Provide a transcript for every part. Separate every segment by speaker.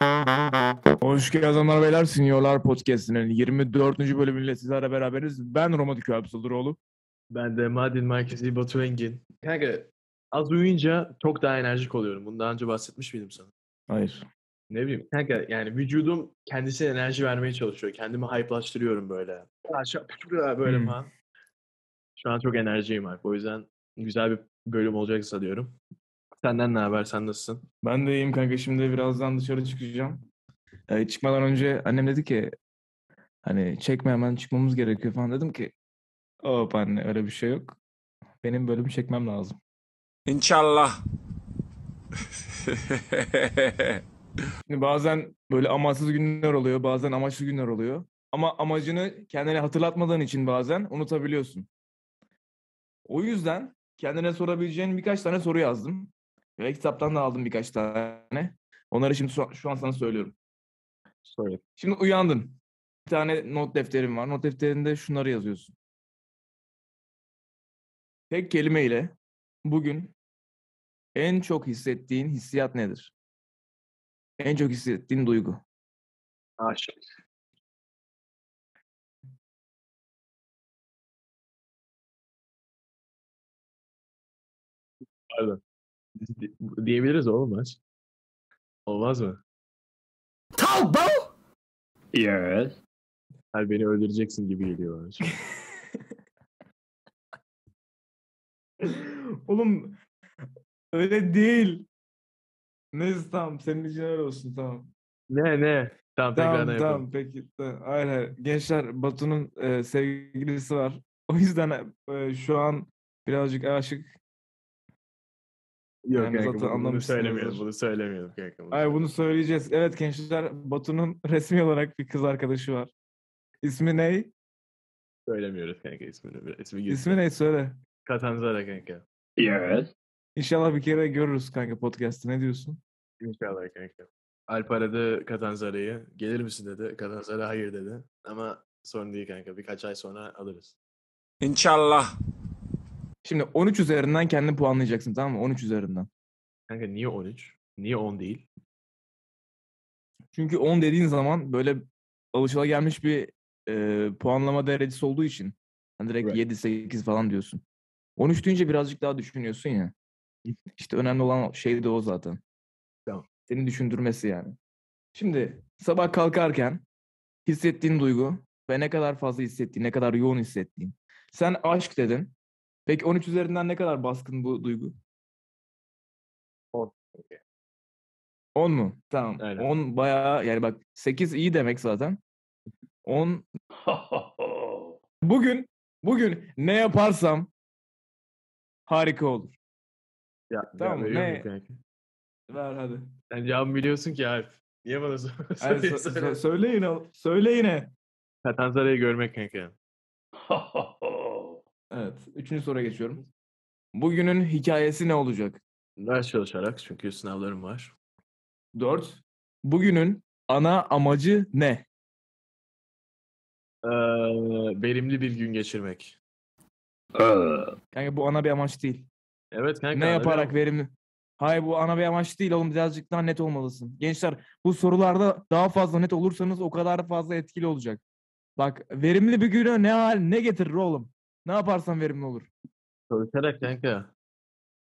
Speaker 1: Hoş geldiniz hanımlar beyler. Sinyorlar Podcast'inin 24. bölümüyle sizlerle beraberiz. Ben Roma Dükü Absaldıroğlu.
Speaker 2: Ben de Mardin merkezi Batu Engin. Kanka az uyuyunca çok daha enerjik oluyorum. Bunu daha önce bahsetmiş miydim sana?
Speaker 1: Hayır.
Speaker 2: Ne bileyim kanka yani vücudum kendisine enerji vermeye çalışıyor. Kendimi hype'laştırıyorum böyle. Aşağı pütürüyor böyle
Speaker 1: Hmm.
Speaker 2: falan. Şu an çok enerjiyim abi. O yüzden güzel bir bölüm olacak sanıyorum. Senden ne haber? Sen nasılsın?
Speaker 1: Ben de iyiyim kanka. Şimdi birazdan dışarı çıkacağım. Ee, çıkmadan önce annem dedi ki hani çekme hemen çıkmamız gerekiyor falan dedim ki hop anne öyle bir şey yok. Benim bölüm çekmem lazım.
Speaker 3: İnşallah.
Speaker 1: Şimdi bazen böyle amaçsız günler oluyor, bazen amaçlı günler oluyor. Ama amacını kendine hatırlatmadığın için bazen unutabiliyorsun. O yüzden kendine sorabileceğin birkaç tane soru yazdım. Ve kitaptan da aldım birkaç tane. Onları şimdi şu, şu an sana söylüyorum.
Speaker 2: Sorry.
Speaker 1: Şimdi uyandın. Bir tane not defterim var. Not defterinde şunları yazıyorsun. Tek kelimeyle bugün en çok hissettiğin hissiyat nedir? En çok hissettiğin duygu.
Speaker 2: Aşık. Pardon. Di- Diyebiliriz oğlum aç. Olmaz mı?
Speaker 4: Yes.
Speaker 2: Her beni öldüreceksin gibi geliyor bana. şu an.
Speaker 1: Oğlum öyle değil. Neyse tamam senin için öyle olsun tamam.
Speaker 2: ne ne? Tamam
Speaker 1: Tamam
Speaker 2: tekrardan yapalım.
Speaker 1: tamam peki. Tamam. Hayır, hayır. Gençler Batu'nun e, sevgilisi var. O yüzden e, şu an birazcık aşık.
Speaker 2: Yok
Speaker 1: Yani
Speaker 2: kanka bunu-
Speaker 1: zaten
Speaker 2: bunu,
Speaker 1: anlamışsınızdır.
Speaker 2: söylemeyelim. Bunu söylemeyelim kanka. bunu
Speaker 1: Ay bunu söyleyeceğiz. Evet gençler Batu'nun resmi olarak bir kız arkadaşı var. İsmi ne?
Speaker 2: Söylemiyoruz kanka ismini. İsmi gizli.
Speaker 1: İsmi ne söyle.
Speaker 2: Katanzara kanka.
Speaker 4: Yes.
Speaker 1: İnşallah bir kere görürüz kanka podcast'te. Ne diyorsun?
Speaker 2: İnşallah kanka. Alp aradı Katanzara'yı. Gelir misin dedi. Katanzara hayır dedi. Ama sorun değil kanka. Birkaç ay sonra alırız.
Speaker 3: İnşallah.
Speaker 1: Şimdi 13 üzerinden kendini puanlayacaksın tamam mı? 13 üzerinden.
Speaker 2: Kanka niye 13? Niye 10 değil?
Speaker 1: Çünkü 10 dediğin zaman böyle alışılagelmiş bir e, puanlama derecesi olduğu için hani direkt
Speaker 2: Right.
Speaker 1: 7 8 falan diyorsun. 13 deyince birazcık daha düşünüyorsun ya. İşte önemli olan o- şey de o zaten.
Speaker 2: Tamam.
Speaker 1: Seni düşündürmesi yani. Şimdi sabah kalkarken hissettiğin duygu ve ne kadar fazla hissettiğin, ne kadar yoğun hissettiğin. Sen aşk dedin. Peki 13 üzerinden ne kadar baskın bu duygu?
Speaker 2: On.
Speaker 1: 10 mu? Tamam.
Speaker 2: Aynen.
Speaker 1: 10 bayağı yani bak 8 iyi demek zaten. 10 bugün bugün ne yaparsam harika olur.
Speaker 2: Ya,
Speaker 1: Tamam,
Speaker 2: tamam veriyor muyum
Speaker 1: ne-
Speaker 2: kanka?
Speaker 1: Ver hadi.
Speaker 2: Sen cevabı biliyorsun ki Alp. Niye bana sor-
Speaker 1: Hayır, sö-
Speaker 2: soruyorsun?
Speaker 1: sö- söyle yine. Söyle yine.
Speaker 2: Katanzara'yı görmek kanka.
Speaker 1: Evet. Üçüncü soruya geçiyorum. Bugünün hikayesi ne olacak?
Speaker 2: Ders çalışarak çünkü sınavlarım var.
Speaker 1: Dört. Bugünün ana amacı ne?
Speaker 2: Ee, verimli bir gün geçirmek.
Speaker 4: Uh.
Speaker 1: Yani bu ana bir amaç değil.
Speaker 2: Evet kanka.
Speaker 1: Ne
Speaker 2: anladın
Speaker 1: yaparak
Speaker 2: mı?
Speaker 1: verimli? Hayır bu ana bir amaç değil oğlum birazcık daha net olmalısın. Gençler bu sorularda daha fazla net olursanız o kadar fazla etkili olacak. Bak verimli bir güne ne hal ne getirir oğlum? Ne yaparsan verimli olur.
Speaker 2: Çalışarak kanka.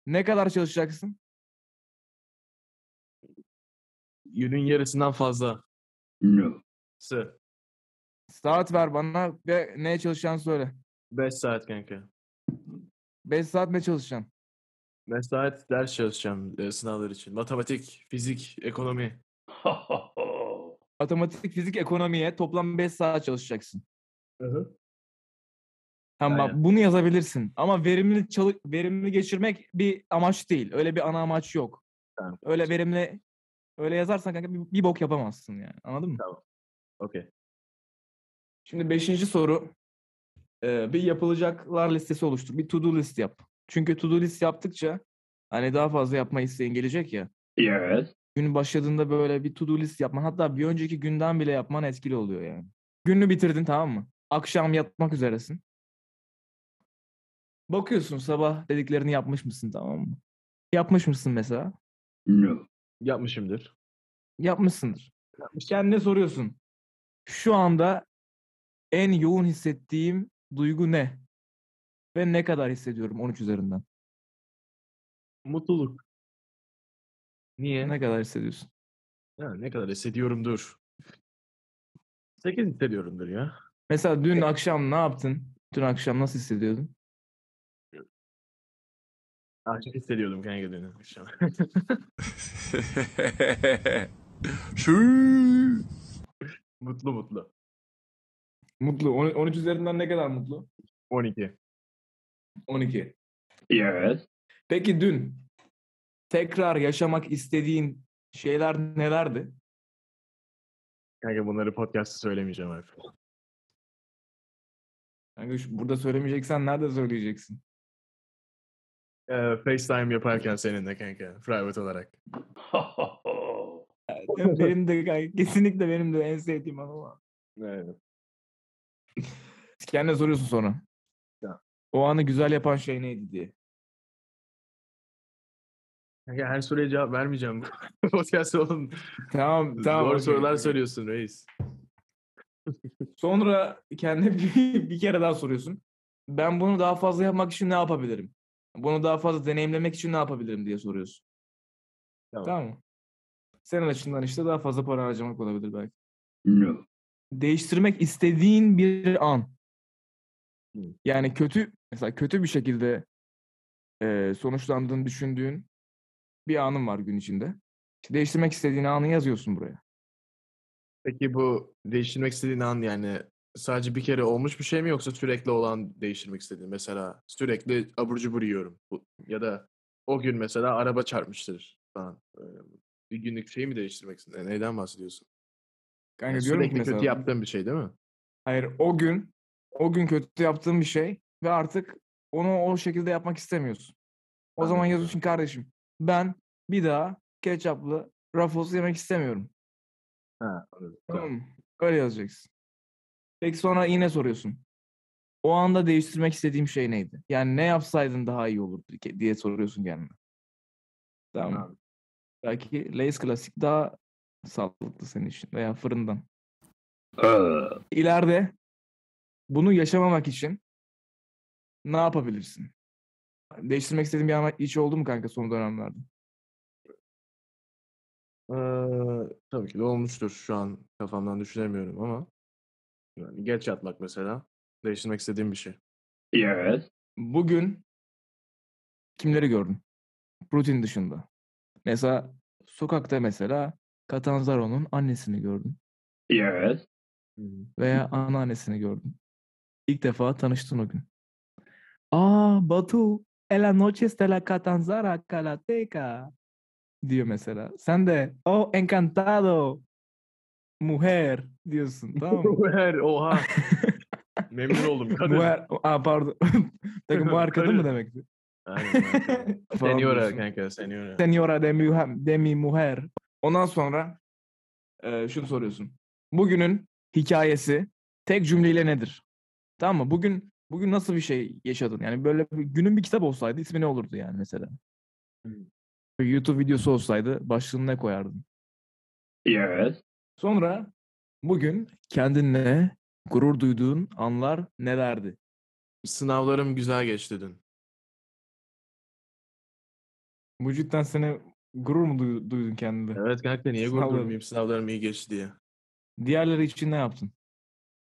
Speaker 1: Ne kadar çalışacaksın?
Speaker 2: Günün yarısından fazlası.
Speaker 4: No.
Speaker 1: Saat ver bana ve neye çalışacağını söyle.
Speaker 2: 5 saat kanka.
Speaker 1: 5 saat ne çalışacaksın?
Speaker 2: 5 saat ders çalışacağım e, sınavlar için. Matematik, fizik, ekonomi.
Speaker 1: Matematik, fizik, ekonomiye toplam 5 saat çalışacaksın. Tamam bak
Speaker 2: Aynen.
Speaker 1: bunu yazabilirsin ama verimli çalı- verimli geçirmek bir amaç değil. Öyle bir ana amaç yok.
Speaker 2: Tamam.
Speaker 1: Öyle verimli öyle yazarsan kanka bir, bir bok yapamazsın yani. Anladın mı?
Speaker 2: Tamam. Okey.
Speaker 1: Şimdi beşinci soru. Ee, bir yapılacaklar listesi oluştur. Bir to do list yap. Çünkü to do list yaptıkça hani daha fazla yapma isteğin gelecek ya.
Speaker 4: Yes.
Speaker 1: Gün başladığında böyle bir to do list yapman hatta bir önceki günden bile yapman etkili oluyor yani. Gününü bitirdin tamam mı? Akşam yatmak üzeresin. Bakıyorsun sabah dediklerini yapmış mısın tamam mı? Yapmış mısın mesela?
Speaker 4: no,
Speaker 2: Yapmışımdır.
Speaker 1: Yapmışsındır. Kendine soruyorsun. Şu anda en yoğun hissettiğim duygu ne? Ve ne kadar hissediyorum 13 üzerinden?
Speaker 2: Mutluluk. Niye?
Speaker 1: Ne kadar hissediyorsun?
Speaker 2: Ya ne kadar hissediyorumdur. 8 hissediyorumdur ya.
Speaker 1: Mesela dün akşam ne yaptın? Dün akşam nasıl hissediyordun?
Speaker 2: Aşık Ah, hissediyordum kanka dün akşam.
Speaker 3: Şu.
Speaker 2: mutlu mutlu.
Speaker 1: Mutlu. 13 üzerinden ne kadar mutlu?
Speaker 2: 12.
Speaker 1: 12.
Speaker 4: yes,
Speaker 1: Peki dün tekrar yaşamak istediğin şeyler nelerdi?
Speaker 2: Kanka bunları podcast'ta söylemeyeceğim artık.
Speaker 1: Yani şu- burada söylemeyeceksen nerede söyleyeceksin?
Speaker 2: Ee, FaceTime yaparken seninle kanka. Private olarak.
Speaker 1: benim de gay- kesinlikle benim de en sevdiğim an o.
Speaker 2: Evet.
Speaker 1: Kendine soruyorsun sonra.
Speaker 2: Ya.
Speaker 1: O anı güzel yapan şey neydi diye.
Speaker 2: Kanka her soruya cevap vermeyeceğim. Podcast oğlum.
Speaker 1: Tamam tamam.
Speaker 2: Doğru
Speaker 1: okey,
Speaker 2: sorular
Speaker 1: okey.
Speaker 2: söylüyorsun reis.
Speaker 1: Sonra kendine bir, bir kere daha soruyorsun. Ben bunu daha fazla yapmak için ne yapabilirim? Bunu daha fazla deneyimlemek için ne yapabilirim diye soruyorsun.
Speaker 2: Tamam.
Speaker 1: Tamam mı? Senin açından işte daha fazla para harcamak olabilir belki.
Speaker 4: no,
Speaker 1: Değiştirmek istediğin bir an.
Speaker 2: Hı.
Speaker 1: Yani kötü, mesela kötü bir şekilde eee sonuçlandığını düşündüğün bir anın var gün içinde. İşte değiştirmek istediğin anı yazıyorsun buraya.
Speaker 2: Peki bu değiştirmek istediğin an yani sadece bir kere olmuş bir şey mi yoksa sürekli olan değiştirmek istediğin? Mesela sürekli abur cubur yiyorum. Bu- Ya da o gün mesela araba çarpmıştır falan. Ee, Bir günlük şeyi mi değiştirmek istedin? E, Neyden bahsediyorsun?
Speaker 1: Kanka
Speaker 2: Yani
Speaker 1: diyorum ki
Speaker 2: sürekli kötü
Speaker 1: mesela-
Speaker 2: yaptığın bir şey değil mi?
Speaker 1: Hayır o gün o gün kötü yaptığın bir şey ve artık onu o şekilde yapmak istemiyorsun. O zaman
Speaker 2: Anladım.
Speaker 1: yazıyorsun kardeşim ben bir daha ketçaplı Ruffles yemek istemiyorum.
Speaker 2: Ha, anladım.
Speaker 1: Tamam mı? Öyle yazacaksın. Peki sonra yine soruyorsun. O anda değiştirmek istediğim şey neydi? Yani ne yapsaydın daha iyi olurdu ki- diye soruyorsun kendine. Tamam. mı?
Speaker 2: Anladım.
Speaker 1: Belki Lay's Klasik daha sağlıklı senin için veya fırından.
Speaker 4: uh,
Speaker 1: ileride bunu yaşamamak için ne yapabilirsin? Değiştirmek istediğin bir ama hiç oldu mu kanka son dönemlerde?
Speaker 2: Ee, tabii ki de olmuştur. Şu an kafamdan düşünemiyorum ama yani geç yatmak mesela değiştirmek istediğim bir şey.
Speaker 4: yes,
Speaker 1: Bugün kimleri gördün? Rutin dışında. Mesela sokakta mesela Katanzaro'nun annesini gördün
Speaker 4: yes,
Speaker 1: veya anneannesini gördün. İlk defa tanıştın o gün. Aa Batu, ela noches de la Catanzara Calateca diyor mesela. Sen de oh encantado mujer diyorsun tamam mı?
Speaker 2: Her oha. Memnun oldum kadın.
Speaker 1: mujer, aa pardon. Takım mujer kadın mı
Speaker 2: Karı.
Speaker 1: demekti?
Speaker 2: Aynen, aynen.
Speaker 1: Falan
Speaker 2: Seniora
Speaker 1: diyorsun.
Speaker 2: kanka seniora.
Speaker 1: Senora de mi, de mi mujer. Ondan sonra e, şunu soruyorsun. Bugünün hikayesi tek cümleyle nedir? Tamam mı? Bugün bugün nasıl bir şey yaşadın? Yani böyle bir- günün bir kitap olsaydı ismi ne olurdu yani mesela?
Speaker 2: Hmm.
Speaker 1: Bir YouTube videosu olsaydı başlığını ne koyardın?
Speaker 4: yes,
Speaker 1: Sonra bugün kendinle gurur duyduğun anlar nelerdi?
Speaker 2: Sınavlarım güzel geçti dün.
Speaker 1: Bu cidden seni gurur mu duy- duydun kendinde?
Speaker 2: Evet kanka niye gurur
Speaker 1: Sınavlarım.
Speaker 2: duymayayım sınavlarım iyi geçti diye.
Speaker 1: Diğerleri için ne yaptın?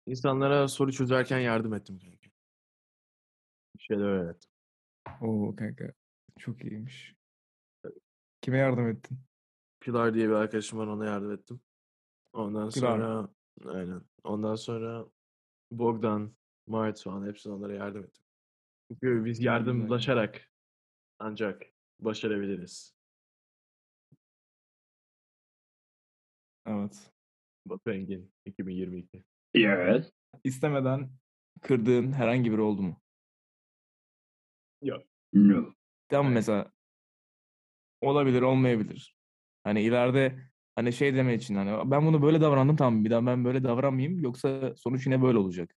Speaker 2: İnsanlara soru çözerken yardım ettim kanka. Bir şeyler öğrettim.
Speaker 1: Oo kanka çok iyiymiş. Kime yardım ettin?
Speaker 2: Pilar diye bir arkadaşım var ona yardım ettim. Ondan
Speaker 1: Pilar.
Speaker 2: sonra aynen. Ondan sonra Bogdan, Mart falan hepsine onlara yardım ettim. Çünkü biz yardımlaşarak ancak başarabiliriz.
Speaker 1: Evet.
Speaker 2: Batu Engin 2022.
Speaker 4: yes,
Speaker 1: İstemeden kırdığın herhangi biri oldu mu?
Speaker 4: no,
Speaker 1: Tamam mı? mesela olabilir olmayabilir. Hani ileride hani şey deme için hani ben bunu böyle davrandım tamam bir daha ben böyle davranmayayım yoksa sonuç yine böyle olacak.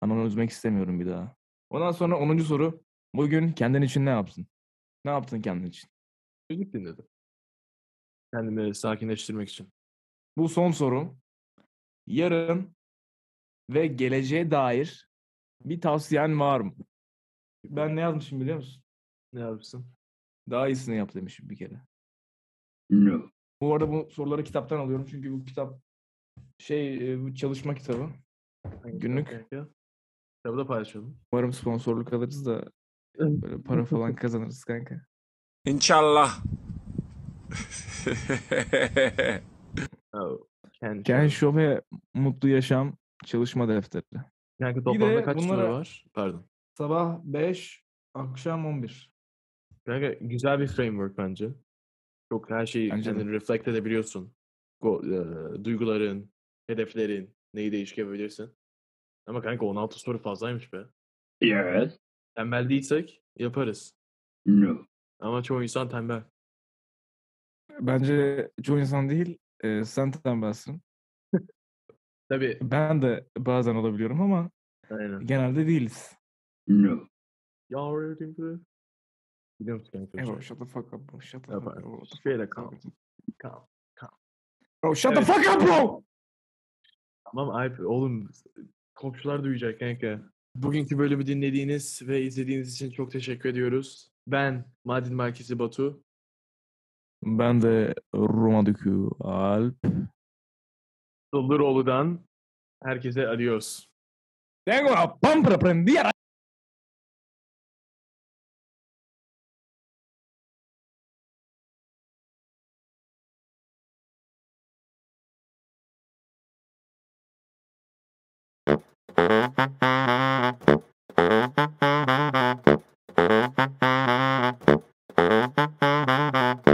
Speaker 1: Hani onu üzmek istemiyorum bir daha. Ondan sonra 10. soru Bugün kendin için ne yaptın? Ne yaptın kendin için?
Speaker 2: Müzik dinledim. Kendimi sakinleştirmek için.
Speaker 1: Bu son sorum. Yarın ve geleceğe dair bir tavsiyen var mı? Ben ne yazmışım biliyor musun?
Speaker 2: Ne yapsın?
Speaker 1: Daha iyisini yap demişim bir kere.
Speaker 4: No.
Speaker 1: Bu arada bu soruları kitaptan alıyorum çünkü bu kitap şey e, bu çalışma kitabı.
Speaker 2: Hangi
Speaker 1: Günlük.
Speaker 2: kitap kanka? Kitabı da paylaşalım.
Speaker 1: Umarım sponsorluk alırız da böyle para falan kazanırız kanka.
Speaker 3: Inshallah.
Speaker 2: Oh, Ken
Speaker 1: Ken
Speaker 2: Show.
Speaker 1: Şove Mutlu Yaşam Çalışma Defteri.
Speaker 2: Kanka toplamda
Speaker 1: de
Speaker 2: kaç
Speaker 1: bunlara-
Speaker 2: numara var? Pardon.
Speaker 1: Sabah 5, akşam 11.
Speaker 2: Kanka güzel bir framework bence. Çok her şeyi
Speaker 1: Bence de.
Speaker 2: kendini reflect edebiliyorsun. Go, e, duyguların, hedeflerin, neyi değiştirebilirsin. Ama kanka 16 soru fazlaymış be.
Speaker 4: Yes.
Speaker 2: Tembel değilsek yaparız.
Speaker 4: No.
Speaker 2: Ama çoğu insan tembel.
Speaker 1: Bence çoğu insan değil, e, sen tembelsin.
Speaker 2: Tabii.
Speaker 1: Ben de bazen olabiliyorum ama
Speaker 2: Aynen.
Speaker 1: genelde değiliz.
Speaker 4: No.
Speaker 2: Yavrum be. Biliyor musun kanka?
Speaker 1: Bro, shut the fuck up bro. Shut the
Speaker 2: Yapar.
Speaker 1: fuck up. bro, what the
Speaker 2: Şöyle
Speaker 1: fuck
Speaker 2: kal.
Speaker 1: up.
Speaker 2: kal.
Speaker 1: Bro, shut
Speaker 2: Evet.
Speaker 1: the fuck up bro!
Speaker 2: Tamam ayıp. Oğlum komşular duyacak kanka. Bugünkü bölümü dinlediğiniz ve izlediğiniz için çok teşekkür ediyoruz. Ben Mardin Merkezi Batu.
Speaker 1: Ben de Roma Dükü Alp.
Speaker 2: Dıldıroğlu'dan herkese adios.
Speaker 1: Tengo la pampra prendida.
Speaker 5: Thank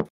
Speaker 5: you.